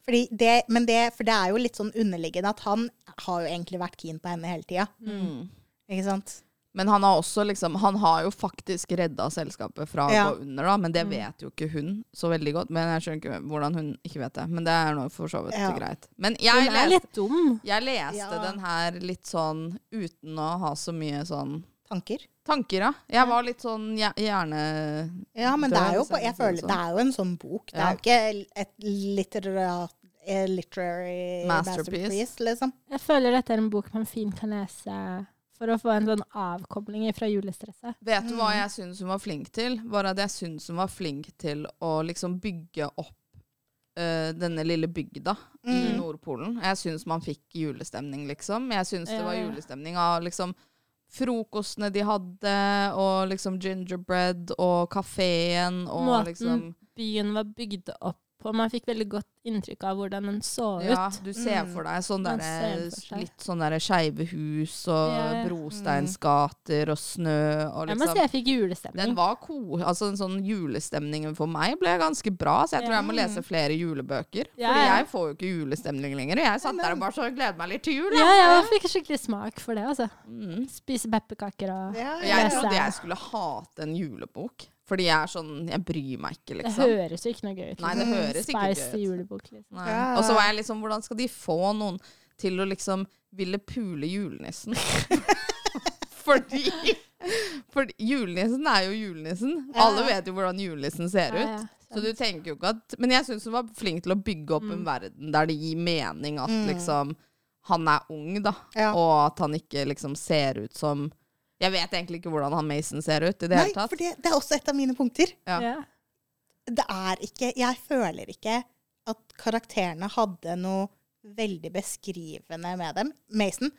Fordi det, men det, for det er jo litt sånn underliggende at han har jo egentlig vært keen på henne hele tida.
Mm.
Ikke sant?
Men han har også liksom Han har jo faktisk redda selskapet fra
Ja.
å gå under, da. Men det vet jo ikke hun så veldig godt. Men jeg skjønner ikke hvordan hun ikke vet det. Men det er nå for så vidt
Ja.
greit. Men jeg
Hun er
leste,
litt dum.
jeg leste
Ja.
den her litt sånn uten å ha så mye sånn
Tanker.
tanker, ja. Jeg var litt sånn hjer- hjerne...
Ja, men det
Død,
er jo på,
liksom,
jeg
for å si
føler,
det
det er jo en sånn bok. Det
Ja.
er jo ikke et litterat, eh, literary
Masterpiece.
masterpiece, liksom.
Jeg føler dette er en bok man fint kan lese for å få en sånn avkobling fra julestresset.
Vet du
Mm.
hva jeg syns hun var flink til? Var at jeg syns hun var flink til å liksom bygge opp eh, denne lille bygda i
Mm.
Mm.
Nordpolen. Jeg syns man fikk julestemning, liksom. Jeg syns det
Ja,
var
ja.
julestemning av liksom frokostene de hadde, og liksom gingerbread, og kafeen, og
Måten
liksom
byen var bygd opp på. Man fikk veldig godt inntrykk av hvordan den så ut. Mm.
Ja, du ser for deg sånn
Man
derre-
ser for seg.
litt sånn derre skeive hus, og
Ja, ja. Mm.
brosteinsgater, og snø, og
Jeg må
liksom
si jeg fikk
Den
julestemning.
var ko... Altså, den sånn julestemningen for meg ble ganske bra, så jeg tror jeg må lese flere julebøker.
Ja,
Fordi
ja.
jeg får jo ikke julestemning lenger. og Jeg satt der og bare så gleder meg litt til jul.
Ja,
da.
jeg fikk skikkelig smak for det, altså.
Mm.
Spise pepperkaker og
Ja,
Og
ja,
Jeg
Lese.
trodde jeg skulle hate en julebok, fordi jeg er sånn Jeg bryr meg ikke,
Det
liksom.
høres jo ikke noe gøy ut. liksom.
Nei, det høres ikke
Spicy
gøy ut.
julebok, liksom.
Nei.
Ja.
Og så var jeg liksom Hvordan skal de få noen til å liksom ville pule julenissen? fordi For julenissen er jo julenissen.
Ja.
Alle vet jo hvordan julenissen
Ja,
ser
sånn.
ut.
ja,
Så
sant.
du tenker jo ikke at Men jeg syns hun var flink til å bygge opp
Mm.
en verden der det gir mening at liksom han er ung, da,
Ja.
og at han ikke liksom ser ut som Jeg vet egentlig ikke hvordan han Mason ser ut i det
Nei,
hele tatt.
for det, det er også et av mine punkter.
Ja.
Ja.
det er ikke Jeg føler ikke at karakterene hadde noe veldig beskrivende med dem. Mason,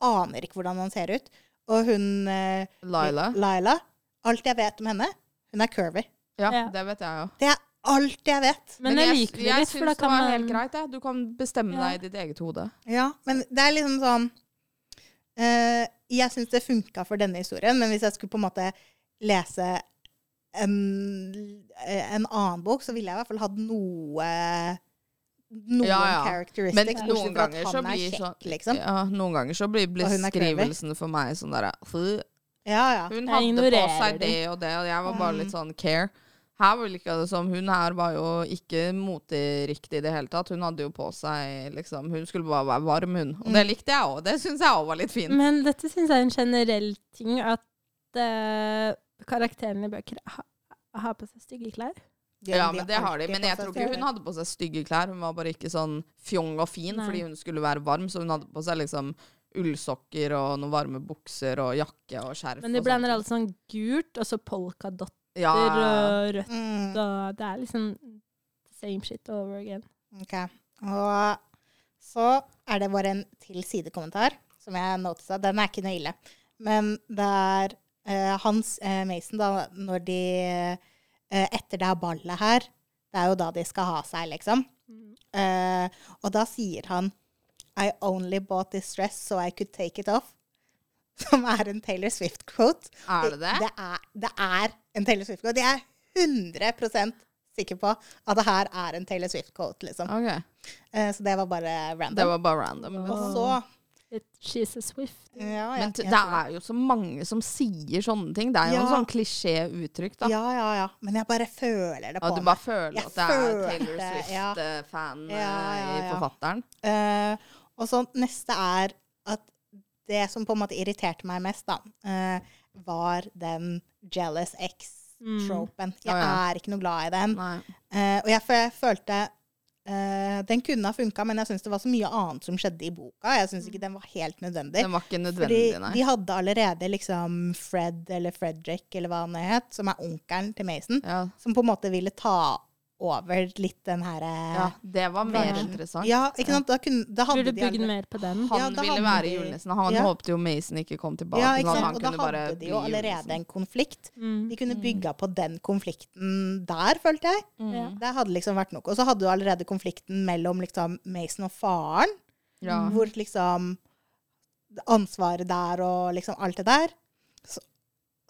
aner ikke hvordan han ser ut. Og hun eh,
Laila.
Laila Alt jeg vet om henne, hun er curvy.
Ja,
Ja.
det vet jeg jo.
Det er alt jeg vet.
Men, jeg liker det
jeg
litt, for da
syns det
kan
var
man
helt greit. Jeg. Du kan bestemme
Ja.
deg i ditt eget hode.
Ja, men det er liksom sånn eh, Jeg syns det funka for denne historien, men hvis jeg skulle på en måte lese en, eh, en annen bok, så ville jeg i hvert fall hatt noe noen
Ja, ja.
characteristics. bortsett
Men noen
fra at
ganger
han
så
er
blir
kjekk,
sånn
liksom.
ja, Noen ganger så blir
Og hun er
beskrivelsen for meg sånn derre «Fy,
Ja, ja.
Hun
Jeg
hadde på
ignorerer
seg
de.
det og det, og jeg var bare
Mm.
litt sånn care. Her virka det som hun her var jo ikke moteriktig i det hele tatt. Hun hadde jo på seg liksom Hun skulle bare være varm, hun. Og det likte jeg òg. Det syns jeg òg var litt fint.
Men dette syns jeg er en generell ting, at eh, karakterene i bøker ha, har på seg stygge klær.
De-
Ja,
de
men det har de.
alltid
Men
på
jeg
seg
tror ikke hun
selv.
hadde på seg stygge klær. Hun var bare ikke sånn fjong og fin
Nei.
fordi hun skulle være varm, så hun hadde på seg liksom ullsokker og noen varme bukser og jakke og skjerf.
Men de
og sånne
blander
ting.
alt sånn gult, og så polkadotter
ja,
og rødt,
Mm,
og det er liksom same shit over again.
ok. Og så er det bare en til sidekommentar, som jeg notisa. Den er ikke noe ille. Men det er eh, Hans eh, Mason, da, når de eh, Etter det her ballet her Det er jo da de skal ha seg, liksom. Eh, og da sier han I only bought this dress so I could take it off. Som er en Taylor Swift-quote.
Er det det?
Det er, det er en Taylor Swift-quote. Jeg er 100 sikker på at det her er en Taylor Swift-quote, liksom.
Ok.
Eh, så det var bare random.
Det var bare random. liksom.
Og så
Litt She's a Swift.
ja, ja,
Men t-
jeg
det
tror
er jo så mange som sier sånne ting. Det er jo
Ja.
en sånn klisjéuttrykk, da.
Ja, ja, ja. Men jeg bare føler det på
Ja, du
meg.
bare føler
Jeg
at det er
følte-
Taylor
ja.
Swift-fan
Ja, ja,
i
ja.
forfatteren.
Eh, og så neste er at det som på en måte irriterte meg mest, da, eh, var den jealous ex-tropen. Jeg
Mm. Ja, ja.
er ikke noe glad i den.
Nei.
Eh, og jeg, f- jeg følte eh, Den kunne ha funka, men jeg syns det var så mye annet som skjedde i boka. Jeg syns ikke den var helt nødvendig.
Mm. Den var ikke
Fordi
nødvendig, nei.
de hadde allerede liksom Fred eller Frederick eller hva han het, som er onkelen til Mason,
Ja.
som på en måte ville ta over litt den herre
ja, det var mer
Ja.
interessant.
Ja, ikke sant? Da, kunne, da hadde
Burde
de
bygd
allerede-
mer på den.
Han
Ja, da
ville
hadde
være
de-
julenissen. Han
Ja.
håpte jo Mason ikke kom tilbake.
Ja,
til
ikke
at
sant?
han
Og da
kunne
hadde
bare
de
bli liksom-
jo allerede
julenissen.
en konflikt.
Mm.
De kunne bygga på den konflikten der, følte jeg.
Ja.
Det hadde liksom vært nok. Og så hadde du allerede konflikten mellom liksom Mason og faren,
Ja.
hvor liksom ansvaret der og liksom alt det der. Så,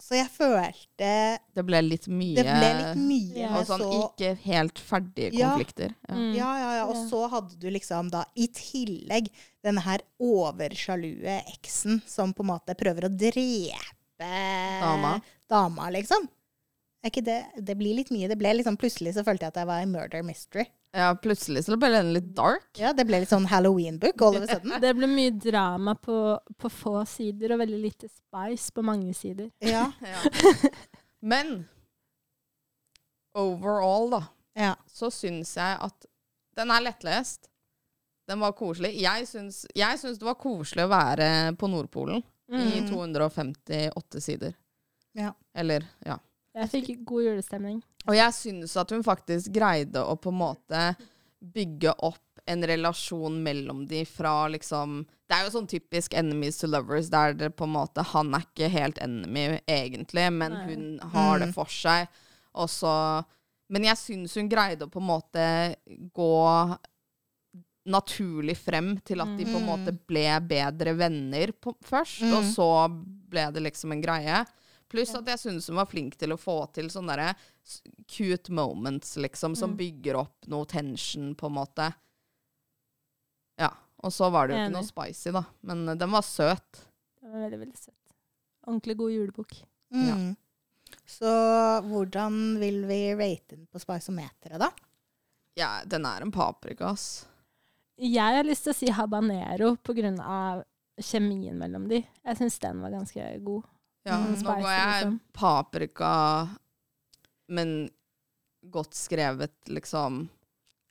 så jeg følte
Det ble litt mye
Det ble litt mye
Ja.
med
og sånn
så
ikke helt ferdige
Ja.
konflikter. Ja.
Mm.
Ja, ja, ja. Og
Ja.
så hadde du liksom da i tillegg denne her oversjalue eksen som på en måte prøver å drepe
Dama.
dama, liksom. Er ikke det Det blir litt mye. Det ble liksom plutselig så følte jeg at jeg var i murder mystery.
ja, plutselig så ble den litt dark.
Ja, det ble litt sånn Halloween-book all of a sudden.
Det ble mye drama på, på få sider, og veldig lite spice på mange sider.
Ja,
Men overall, da,
ja.
så syns jeg at den er lettlest. Den var koselig. Jeg syns, jeg syns det var koselig å være på Nordpolen
Mm.
Mm.
i 258 sider.
Ja.
Eller, ja.
Jeg fikk god julestemning.
Og jeg syns at hun faktisk greide å på en måte bygge opp en relasjon mellom de fra liksom Det er jo sånn typisk enemies to lovers, der det på en måte Han er ikke helt enemy, egentlig, men
Nei.
hun har det for seg. Og så Men jeg syns hun greide å på en måte gå naturlig frem til at de på en måte ble bedre venner på, først, og så ble det liksom en greie. Pluss at jeg syns hun var flink til å få til sånne derre s- cute moments, liksom, som
Mm.
bygger opp noe tension, på en måte. Ja. Og så var det jo ikke
Enig.
noe spicy, da. Men eh, den var søt.
Det var veldig, veldig søtt. Ordentlig god julebok.
Mm. Så hvordan vil vi rate den på Spiceometeret, da?
Ja, den er en paprika, ass.
Jeg har lyst til å si habanero på grunn av kjemien mellom de. Jeg syns den var ganske god.
Ja,
Mm.
nå
Spicy,
ga jeg
liksom.
paprika, men godt skrevet, liksom.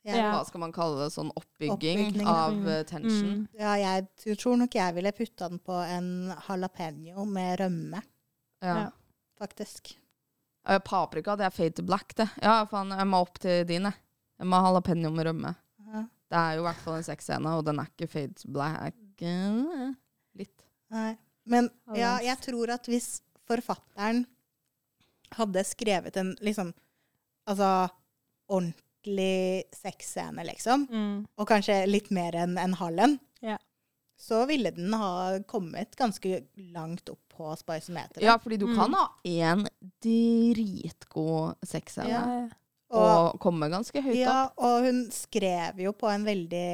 Ja.
Hva skal man kalle det? Sånn oppbygging,
Oppbygning, ja.
av eh, tension.
Mm.
Ja, jeg tror nok jeg ville putta den på en jalapeño med rømme,
Ja.
Ja.
faktisk.
Eh, Paprika, det er fade to black, det. Ja, faen, jeg må opp til din, jeg. Jeg må ha jalapeño med rømme.
Ja.
Det er jo i hvert fall en sexscene, og den er ikke fade to black. eh, Litt.
Nei. Men
Alle
ja,
hans.
jeg tror at hvis forfatteren hadde skrevet en liksom Altså ordentlig sexscene, liksom,
Mm.
og kanskje litt mer enn en halv en,
Ja.
så ville den ha kommet ganske langt opp på spicemeteret.
Ja, fordi du
Mm.
kan ha én dritgod sexscene
Ja, og,
og komme ganske høyt
ja,
opp.
og hun skrev jo på en veldig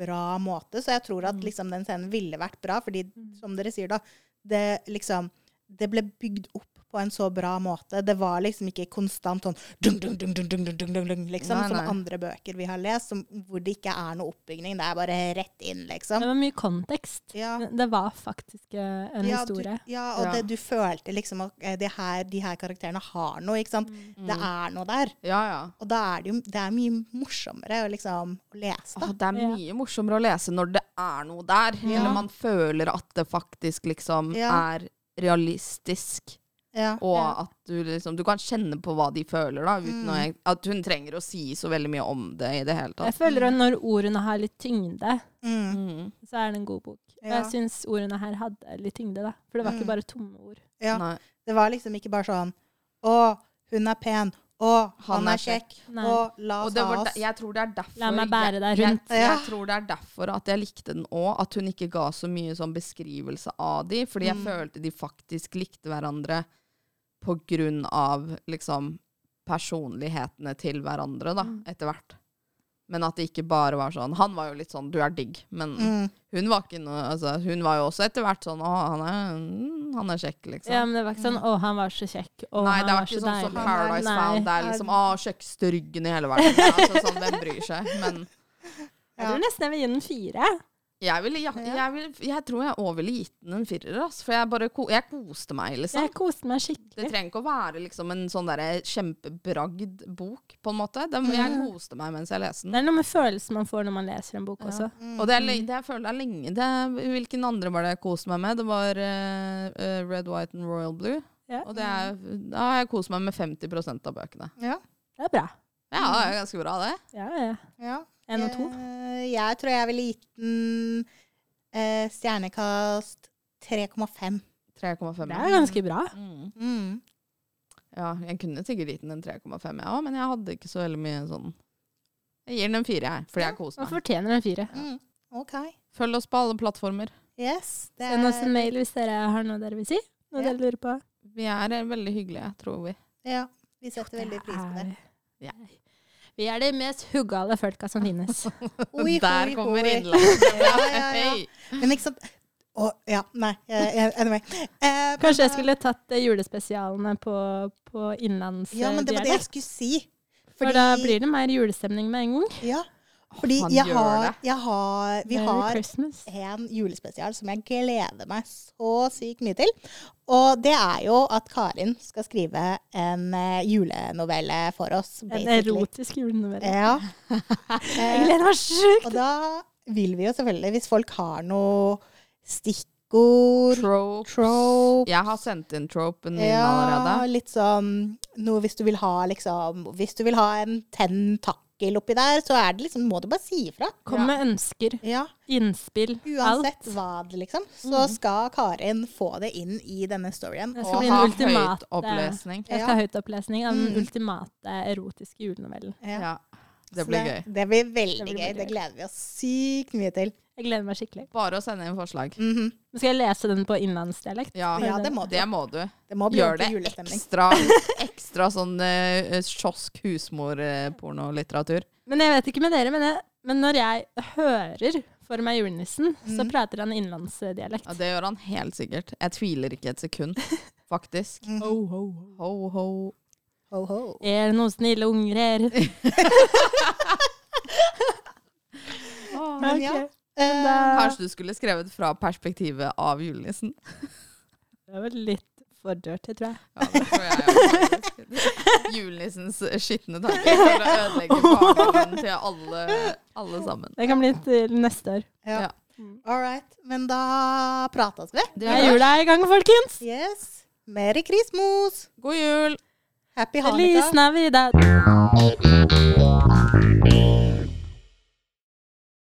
bra måte, så jeg tror at liksom den scenen ville vært bra, fordi
Mm.
som dere sier da, det liksom Det ble bygd opp på en så bra måte. Det var liksom ikke konstant sånn dung, dung, dung, dung, dung, dung, dung, dung, dung, liksom,
Nei, nei.
Som andre bøker vi har lest, som, hvor det ikke er noe oppbygning. Det er bare rett inn, liksom.
Det var mye kontekst.
Ja.
Det var faktisk eh, en
ja,
historie.
Du, ja, og
Ja.
Det, du følte liksom at eh, det her, de her karakterene har noe, ikke sant.
Mm.
Det er noe der.
Ja, ja.
Og da er det jo det er mye morsommere å liksom å lese, da.
Å, det er mye morsommere å lese når det er noe der. Eller man føler at det faktisk liksom
Ja.
er realistisk.
Ja.
Og
Ja.
at du liksom Du kan kjenne på hva de føler, da. Uten å, at hun trenger å si så veldig mye om det i det
Jeg
hele tatt.
føler at når ordene har litt tyngde,
Mm.
Mm.
så er det en god bok. Og
Ja.
jeg syns ordene her hadde litt tyngde, da. For det var
Mm.
ikke bare tomme ord.
Ja.
Nei.
Det var liksom ikke bare sånn Å, hun er pen. Å, han, er kjekk.
Nei.
Å, la
Og
oss
det
ha
var de,
oss.
jeg tror det er derfor
La meg bære deg rundt.
Jeg, jeg,
Ja.
jeg tror det er derfor at jeg likte den òg. At hun ikke ga så mye sånn beskrivelse av de, fordi
Mm.
jeg følte de faktisk likte hverandre på grunn av liksom personlighetene til hverandre, da,
Mm.
etter hvert. Men at det ikke bare var sånn Han var jo litt sånn 'du er digg', men
Mm.
hun var ikke noe altså, Hun var jo også etter hvert sånn 'å, han er, mm, han er kjekk', liksom.
Ja, men det var ikke sånn 'Å, han var så kjekk'. Å,
Nei,
han
det
var
var ikke
så
sånn som
deilig.
Paradise
Nei.
Found. Det er liksom 'Å, kjøkkeste ryggen i hele verden'. Altså, sånn, Hvem bryr seg? Men
Jeg tror nesten jeg vil gi den fire.
jeg, ville, ja- jeg, ville, jeg tror jeg òg ville gitt den en firer, altså, for jeg, bare, ko- jeg koste meg, liksom.
Jeg koste meg
Det
skikkelig.
trenger ikke å være liksom, en sånn derre kjempebragd bok, på en måte. Den, jeg koste meg mens jeg leste
Det
den.
er noe med følelsen man får når man leser en bok også.
Mm.
Og det, er le- det jeg føler det er lenge det, er- Hvilken andre var det jeg koste meg med? Det var eh, eh, Red, White and Royal Blue.
Ja.
Og det er, da har jeg kost meg med 50 av bøkene.
Ja.
Det er bra.
Ja,
Mm.
det er ganske bra, det.
Ja, ja.
ja.
En og to.
Eh, Jeg tror jeg ville gitt den eh, stjernekast 3,5.
3,5.
Det er ganske bra.
Mm.
Mm.
Ja, jeg kunne sikkert gitt den en 3,5, jeg òg, men jeg hadde ikke så veldig mye sånn Jeg gir den en fire, jeg, fordi jeg koser
Man
meg.
fortjener en fire.
Mm. OK.
Følg oss på alle plattformer.
Yes. Det
Send oss en mail hvis dere har noe dere vil si. Noe
Ja.
dere lurer på.
Vi er eh, veldig hyggelige, tror vi.
Ja. Vi setter veldig pris på det.
Ja. Vi er de mest huggale folka som finnes.
Oi,
Der
hoi,
kommer
hoi.
innlegget.
Ja, ja, ja.
Hei!
Men ikke sant Å, ja. Nei. eh, Anyway. Eh, men,
Kanskje
eh,
jeg skulle tatt eh, julespesialene på, på innlandsdialekt.
Ja, men det var det jeg skulle si.
For da blir det mer julestemning med en gang.
Ja. Fordi
han
jeg
gjør
har,
det.
jeg har Vi
Merry
har
Christmas.
en julespesial som jeg gleder meg så sykt mye til. Og det er jo at Karin skal skrive en eh, julenovelle for oss.
En
basically.
erotisk julenovelle.
Ja. Eh,
Jeg gleder meg sjukt!
Og da vil vi jo selvfølgelig, hvis folk har noe stikkord,
Trope.
trope
Jeg har sendt inn tropen min
Ja,
allerede.
litt sånn noe hvis du vil ha liksom Hvis du vil ha en tentakel oppi der, så er det liksom Må du bare si ifra.
Kom med ønsker,
Ja.
innspill,
Uansett
alt.
hva, det liksom, så skal Karin få det inn i denne storyen.
Det skal
Og
bli en
Og ha
ultimat,
høyt
eh,
opplesning.
Jeg skal ha høytopplesning av
Mm.
den ultimate erotiske julenovellen.
Ja.
så
Det blir gøy.
Det blir veldig
Det blir
gøy.
veldig
Det
gøy.
gleder vi oss sykt mye til.
Jeg gleder meg skikkelig.
Bare å sende inn forslag.
Mhm.
Nå skal jeg lese den på innlandsdialekt.
Ja,
Ja, det må du.
det må du.
Det må bli
Gjør det
ordentlig julestemning.
ekstra, ekstra sånn eh, kiosk-husmor-pornolitteratur.
Men jeg vet ikke med dere, men, jeg, men når jeg hører for meg julenissen, så prater han innlandsdialekt.
Mm. Ja, det gjør han helt sikkert. Jeg tviler ikke et sekund, faktisk. Ho, ho.
Ho, ho.
Er det noen snille unger her?
Men ja,
Ok.
eh,
Kanskje du skulle skrevet fra perspektivet av julenissen?
Det var litt for dørt, jeg tror jeg.
Ja, det tror jeg jo faktisk. Julenissens skitne tanker for å ødelegge barndommen til alle, alle sammen.
Det kan bli til neste år.
ja.
Ja.
All right. Men da prates vi.
Det
Det er
gjør det.
jula i gang, folkens!
Yes. Merry Christmas!
God jul!
Happy
Feliz
Hanukkah!
Navidad!